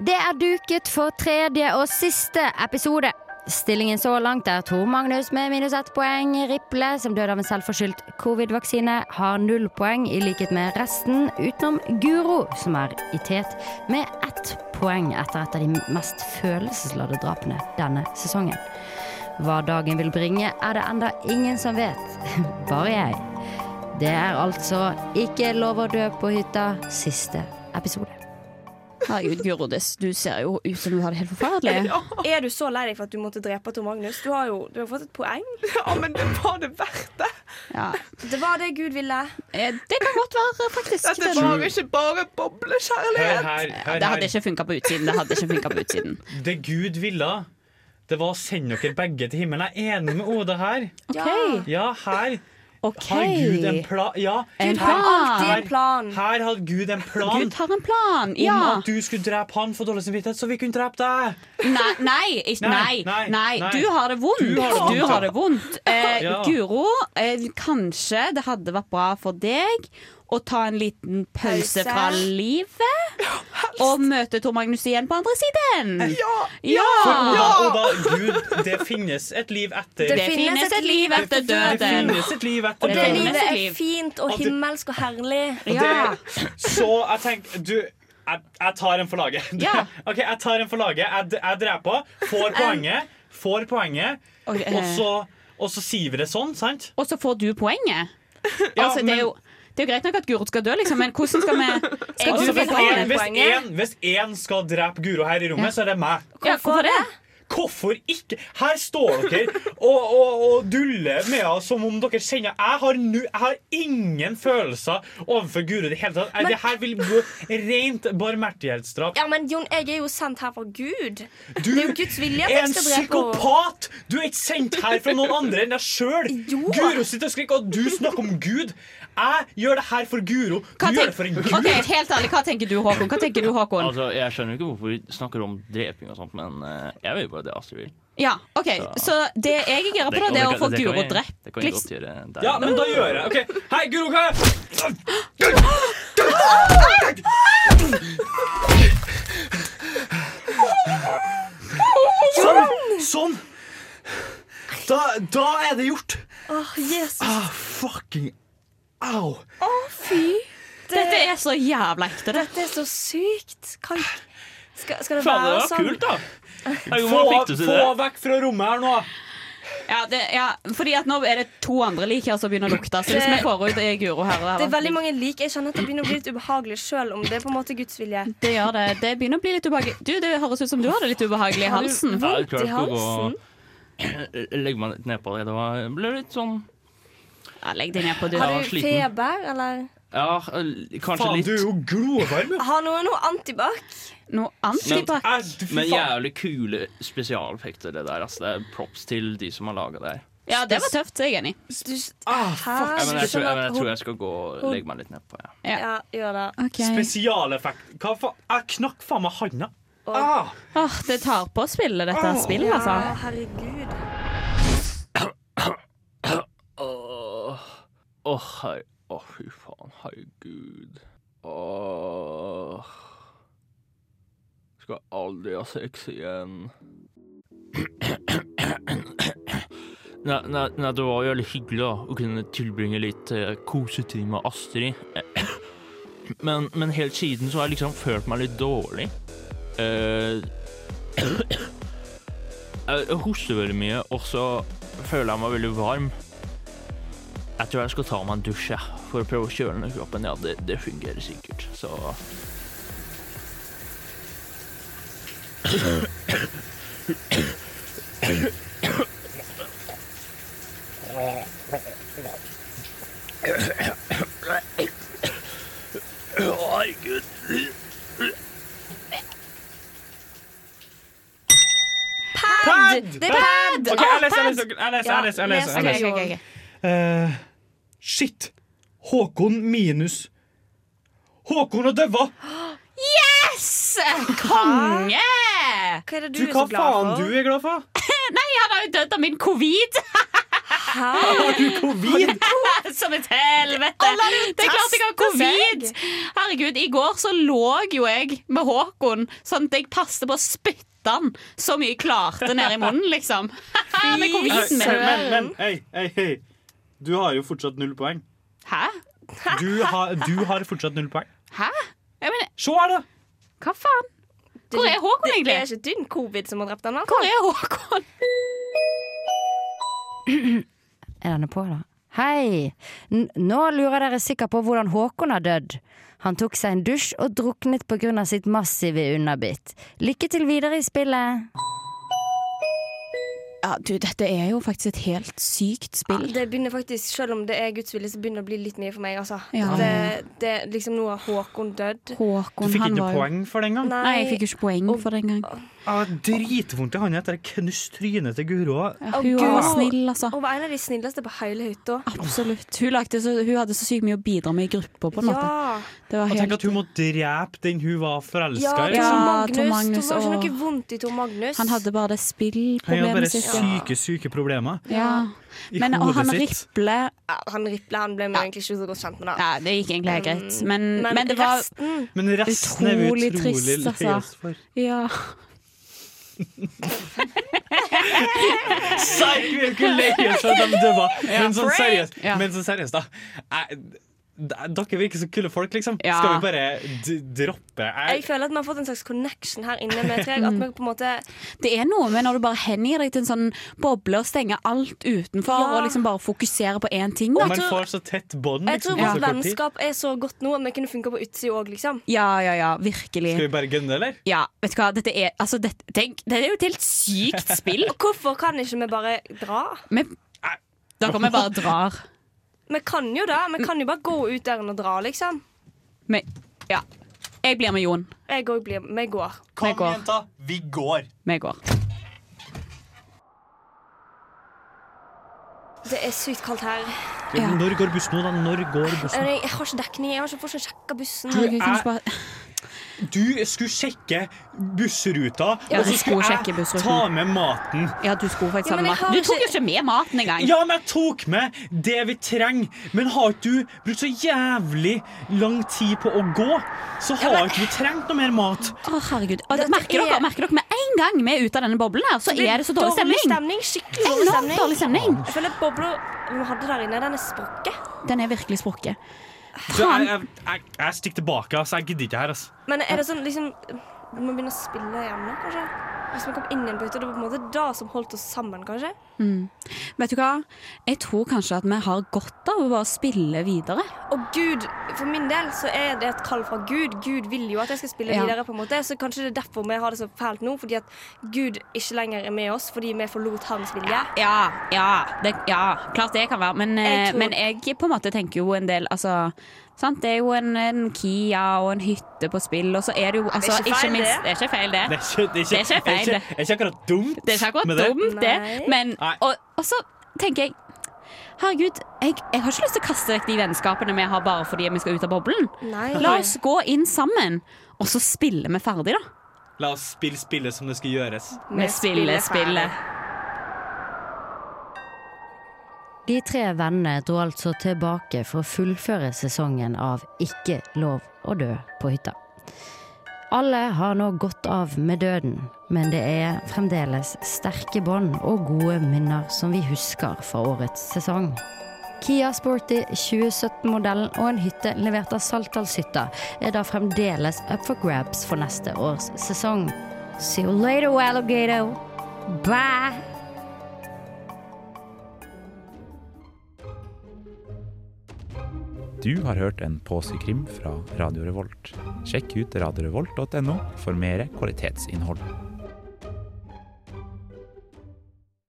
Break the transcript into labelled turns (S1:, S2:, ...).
S1: Det er duket for tredje og siste episode. Stillingen så langt er Tor Magnus med minus ett poeng. Riple, som døde av en selvforskyldt covid-vaksine, har null poeng, i likhet med resten, utenom Guro, som er i tet med ett poeng etter et av de mest følelsesladde drapene denne sesongen. Hva dagen vil bringe, er det enda ingen som vet. Bare jeg. Det er altså Ikke lov å dø på hytta, siste episode.
S2: Herregud, Guro, det- du ser jo ut som du har det helt forferdelig.
S3: Er du så lei deg for at du måtte drepe Tor Magnus? Du har jo du har fått et poeng.
S4: Ja, men det var det verdt det.
S2: Ja.
S3: Det var det Gud ville.
S2: Eh, Det kan godt være, faktisk.
S4: Dette
S2: Den-
S4: var ikke bare
S5: Hør
S4: boblekjærlighet.
S5: her.
S2: Ja,
S5: Hør
S2: det hadde
S5: her.
S2: ikke funka på utsiden. Det hadde ikke funket på utsiden.
S5: Det Gud ville, det var å sende dere begge til himmelen. Jeg er enig med Oda her.
S3: Ok.
S5: Ja, her
S2: OK.
S5: har Gud en plan. Ja,
S2: En
S3: Gud har alltid
S2: plan.
S3: en plan.
S5: her hadde Gud en plan.
S2: Gud har en plan.
S5: Om
S2: Ja.
S5: at du skulle drepe han for dårlig samvittighet, så vi kunne drepe deg.
S2: Nei, nei, ikke, nei,
S5: Nei,
S2: nei,
S5: nei, nei.
S2: Du har det vondt.
S5: Du har det vondt,
S2: Du
S5: ja.
S2: har det vondt. Eh,
S5: Ja.
S2: Guro, eh, kanskje det hadde vært bra for deg å ta en liten pause
S3: Pause.
S2: fra livet og møte Tor Magnus igjen på andre siden.
S4: Ja,
S2: Ja!
S5: Oda, Oda, Gud, det finnes et liv etter
S2: Det finnes et liv etter
S5: Det
S2: døden.
S5: finnes et liv etter
S2: Det
S3: Det
S2: er
S5: døden.
S3: livet
S2: liv.
S3: er fint og
S5: Og det-
S3: himmelsk og herlig.
S2: Ja.
S5: Det, så jeg tenkte Du, jeg, jeg tar en for laget.
S2: Ja.
S5: OK, jeg tar en for laget. Jeg, d- jeg dreper. Får poenget. Får poenget.
S2: Ok, eh.
S5: Og så, og så sier vi det sånn, sant?
S2: Og så får du poenget.
S5: Ja,
S2: altså, det, er jo, det er jo greit nok at Guro skal dø, liksom, men hvordan skal vi Skal
S3: du
S5: Altså,
S2: Guro
S3: få
S5: hvis,
S2: få
S3: poenget?
S5: en,
S2: poenget?
S5: hvis, en, hvis en skal drepe Guro her i rommet, så er det meg.
S2: Ja, hvorfor det?
S5: Hvorfor ikke? Her står dere og, og, og duller med henne som om dere kjenner Jeg har, nu, jeg har ingen følelser overfor Guro i det hele tatt. Det her vil gå rent barmhjertighetsdrap.
S3: Ja, men Jon, jeg er jo sendt her for Gud. Det
S5: Du
S3: er jo Guds vilje at
S5: er
S3: jeg
S5: en
S3: skal drepe henne.
S5: psykopat! Du er ikke sendt her fra noen andre enn deg sjøl.
S3: Jo.
S5: Guro sitter og skriker, og du snakker om Gud. Jeg gjør det her for Guro. Du
S2: Hva
S5: gjør det for en
S2: tenk-
S5: Gud.
S2: Ok, Helt ærlig, hva tenker du, Håkon? Hva tenker du, Håkon?
S6: Altså, Jeg skjønner ikke hvorfor vi snakker om dreping og sånt, men eh, jeg vil jo bare det Astrid vil.
S2: Ja, ok, Så det jeg er gira på, da, det er å få
S6: det kan
S2: Guro
S6: jeg-
S2: drept.
S6: Det kan jeg
S2: liksom.
S6: godt gjøre der.
S5: Ja,
S6: og
S5: men
S6: da.
S5: da gjør jeg OK. Hei, Guro, hva Sånn! Sånn! Da, da er det gjort.
S3: Åh, Jesus.
S5: Ah, fucking au.
S2: Dette er så jævla ekte, det.
S3: Dette er så sykt. Hva skal, skal det
S6: Faen, det
S3: være
S6: var
S3: sånn?
S6: kult, da! Herregud,
S5: Få,
S6: hvordan fikk du til
S5: få
S6: det?
S5: vekk fra rommet her nå.
S2: Ja, det ja, fordi at nå er det to andre lik her som begynner å lukte. Så hvis vi får ut eh, Guro her, og her
S3: Det er veldig mange lik. Jeg kjenner at det begynner å bli litt ubehagelig sjøl om det er på en måte Guds vilje.
S2: det gjør det. Det begynner å bli litt ubehagelig. Du, det høres ut som du har det litt ubehagelig i halsen.
S6: Ja, jeg klarte
S3: i
S6: ikke å gå Legge meg litt nedpå det. Det var, ble litt sånn
S2: Ja, legg deg ned på du.
S6: Jeg
S3: Har
S6: var
S3: du
S6: sliten.
S3: feber, eller?
S6: Ja, kanskje
S5: Faen,
S6: litt.
S5: du er jo glovarm. jo.
S3: Har noen noe antibac?
S2: Noe annet
S6: Men-
S2: litt bak.
S5: Jeg- fy
S6: Men
S5: faen.
S6: jævlig kule spesialeffekter, det der. Altså, det er props til de som har laga det her.
S2: Ja, det var tøft. Jeg er enig.
S3: Du,
S5: Ah,
S3: Hæ?
S6: Ja,
S3: Du
S6: men jeg, tror,
S2: sånn
S3: skjønner
S6: jeg, men
S3: at
S6: jeg tror jeg skal gå og legge meg litt nedpå. Ja.
S3: Ja, gjør det.
S5: Spesialeffekt. Hva faen? Jeg knakk faen meg handa. Ah.
S2: Åh, det tar på å spille dette spillet,
S3: Ja,
S2: altså.
S3: herregud.
S6: Åh, åh, her, åh, fy faen, herregud. Åh. Skal aldri ha sex igjen. Nei, nei, nei, det var jævlig hyggelig da, å kunne tilbringe litt eh, kosetid med Astrid. Men, men helt siden så har jeg liksom følt meg litt dårlig. Eh, jeg hoster veldig mye, og så føler jeg meg veldig varm. Jeg tror jeg skal ta meg en dusj jeg, for å prøve å kjøle ned kroppen. Ja, det, det fungerer sikkert, så Herregud.
S5: Pad!
S3: Det er pad!
S5: Ok, jeg leser, jeg leser, jeg leser, jeg leser, jeg leser, jeg
S3: Ja,
S5: leser.
S2: Ok, ok, ok.
S5: Eh, shit. Håkon minus Håkon og døva!
S2: Yes! Konge!
S3: Hva er det du,
S5: Du,
S3: er
S5: hva
S3: så glad
S5: faen
S3: for?
S5: du er glad for?
S2: Nei, han har jo dødd av min covid!
S3: Hæ?
S5: Har du covid?
S2: som et helvete! Det er klart jeg har covid! Herregud, i går så lå jo jeg med Håkon sånn at jeg passet på å spytte han så mye jeg klarte ned i munnen, liksom. med coviden min.
S5: Men, men, hei, hei, hei. Du har jo fortsatt null poeng.
S2: Hæ?
S5: Du har, du har fortsatt null poeng.
S2: Hæ? Jeg mener,
S5: Se her, da!
S2: hva faen? Hvor er Håkon
S3: Det
S2: egentlig?
S3: er ikke din covid som har drept han.
S2: Hvor er Håkon?
S1: Er denne på, da? Hei! N nå lurer dere sikkert på hvordan Håkon har dødd. Han tok seg en dusj og druknet på grunn av sitt massive underbitt. Lykke til videre i spillet.
S2: Ja, du, dette er jo faktisk et helt sykt spill.
S3: Det begynner faktisk, Selv om det er Guds vilje, så begynner det å bli litt mye for meg. altså
S2: Ja.
S3: det, det, er liksom Nå har Håkon dødd.
S5: Du
S2: Håkon,
S5: fikk
S2: han
S5: ikke
S2: var jo
S5: poeng for den gang.
S2: Nei, jeg fikk jo ikke poeng for den gang.
S5: Ah, Dritvondt i hånda etter å knust trynet til Guro.
S2: Ja,
S3: Å,
S2: hun var
S3: Gud.
S2: snill, altså.
S3: Hun var en av de snilleste på hele hytta.
S2: Absolutt. Hun, lagde så, hun hadde så sykt mye å bidra med i gruppa, på en måte.
S3: Ja.
S2: Det var
S5: Og tenk
S2: helt,
S5: at hun må drepe den hun var
S3: Ja,
S5: forelska i.
S3: Tor
S2: Ja, Tor
S3: Magnus. Tor
S2: Magnus,
S3: Det var
S2: og-
S3: ikke noe vondt i Tor Magnus.
S2: han hadde bare det
S5: Han har bare
S2: spillproblemet sitt. Ja.
S5: syke, syke problemer i
S2: Men, og
S5: hodet
S2: han
S5: sitt.
S2: riple
S3: ja, han Riple han ble vi egentlig ikke så godt kjent med. da
S2: Ja, det gikk egentlig helt greit. Men, men, det var
S3: Mm. resten
S5: Men resten er vi
S2: Utrolig
S5: utrolig
S2: trist, altså.
S5: lei oss for.
S2: Ja.
S5: Nei, vi er jo ikke lei oss for at de døde. Men sånn seriøst,
S2: Ja.
S5: men sånn seriøst da. Jeg, d- dere virker som kule folk, liksom.
S2: Ja.
S5: Skal vi bare d droppe
S3: Jeg
S5: jeg,
S3: føler at vi har fått en slags connection her inne med tre.
S2: Mm.
S3: At vi på en måte
S5: Mm.
S2: Det er noe med når du bare hengir deg til en sånn boble og stenger alt utenfor
S3: Ja.
S2: og liksom bare fokuserer på én ting.
S5: Og
S2: Da.
S5: man
S3: tror-
S5: får så tett bånd
S3: Jeg tror
S5: liksom, på
S3: vårt
S5: så kort tid.
S3: vennskap er så godt nå at vi kunne funka på utsida òg, liksom.
S2: Ja, ja, ja. Virkelig.
S5: Skal vi bare gønne, eller?
S2: Ja, vet du hva, dette er altså, det, tenk, det er jo et helt sykt spill.
S3: Og hvorfor kan ikke vi bare dra?
S2: Vi, dere vi bare drar.
S3: Vi kan jo det. Vi kan jo bare gå ut der og dra, liksom.
S2: Vi, ja. Jeg blir med Jon.
S3: Jeg òg blir Vi går.
S2: Vi går.
S5: jenta. Vi går.
S2: Vi går.
S3: Det er sykt kaldt her.
S2: Ja.
S5: Når går bussen nå, da? Når går bussen?
S3: Jeg jeg har ikke dekning. Jeg har ikke fortsatt sjekka bussen.
S2: Herregud, kan du ikke bare...
S5: Du skulle sjekke bussruta,
S2: Ja,
S5: og
S2: du
S5: så
S2: skulle
S5: skulle
S2: sjekke
S5: jeg
S2: bussruta.
S5: ta med maten.
S2: Ja, du skulle faktisk ha
S3: Ja, men
S2: med
S3: jeg
S2: maten.
S3: har
S2: Du tok jo
S3: ikke-
S2: ikke med maten engang.
S5: Ja, men jeg tok med det vi trenger. Men har ikke du brukt så jævlig lang tid på å gå, så har ikke vi trengt noe mer mat.
S2: Å, herregud. Og det,
S3: Dette
S2: merker, dere,
S3: er-
S2: merker dere med en gang vi er ute av denne boblen, her, så er det så dårlig stemning.
S3: Skikkelig dårlig
S2: Enormt
S3: stemning.
S2: dårlig stemning.
S3: Jeg føler at bobla vi hadde der inne, den er sprukket.
S2: Den er virkelig sprukket.
S5: Så jeg, jeg, jeg, jeg stikker tilbake, altså. Jeg gidder ikke her, altså.
S3: Men er det sånn liksom Vi må begynne å spille igjen nå, kanskje? Hvis vi kom inn igjen på hytta, det var på en måte det som holdt oss sammen, kanskje?
S2: Vet du hva? Jeg tror kanskje at vi har godt av å bare spille videre.
S3: Og Gud, for min del så er det et kall fra Gud. Gud vil jo at jeg skal spille
S2: Ja.
S3: videre, på en måte. Så kanskje det er derfor vi har det så fælt nå, fordi at Gud ikke lenger er med oss fordi vi forlot hans vilje.
S2: Ja, ja, det, ja. Klart det kan være. Men jeg,
S3: Jeg tror-
S2: men jeg på en måte tenker jo en del altså, sant? Det er jo en, en Kia og en hytte på spill, og så er det jo altså,
S3: ikke feil,
S2: minst,
S3: det.
S2: Det er ikke feil, det.
S5: Det er ikke, det er
S2: Det er ikke
S5: ikke,
S2: feil,
S5: er ikke, er ikke akkurat dumt.
S2: Det er ikke akkurat
S5: med det.
S2: dumt, det.
S3: Nei.
S2: Men,
S5: Nei.
S2: og, og så tenker jeg Herregud, jeg, jeg har ikke lyst til å kaste vekk de vennskapene vi har bare fordi vi skal ut av boblen.
S3: Nei.
S2: La oss gå inn sammen, og så spiller vi ferdig, da.
S5: La oss spille spillet som det skal gjøres.
S2: Vi spiller spillet.
S1: De tre vennene dro altså tilbake for å fullføre sesongen av Ikke lov å dø på hytta. Alle har nå gått av med døden, men det er fremdeles sterke bånd og gode minner som vi husker fra årets sesong. Kia Sporty 2017-modellen og en hytte levert av Saltdalshytta er da fremdeles up for grabs for neste års sesong. See you later, alligator. Bye!
S7: Du har hørt en påskekrim fra Radio Revolt. Sjekk ut radiorevolt.no for mer kvalitetsinnhold.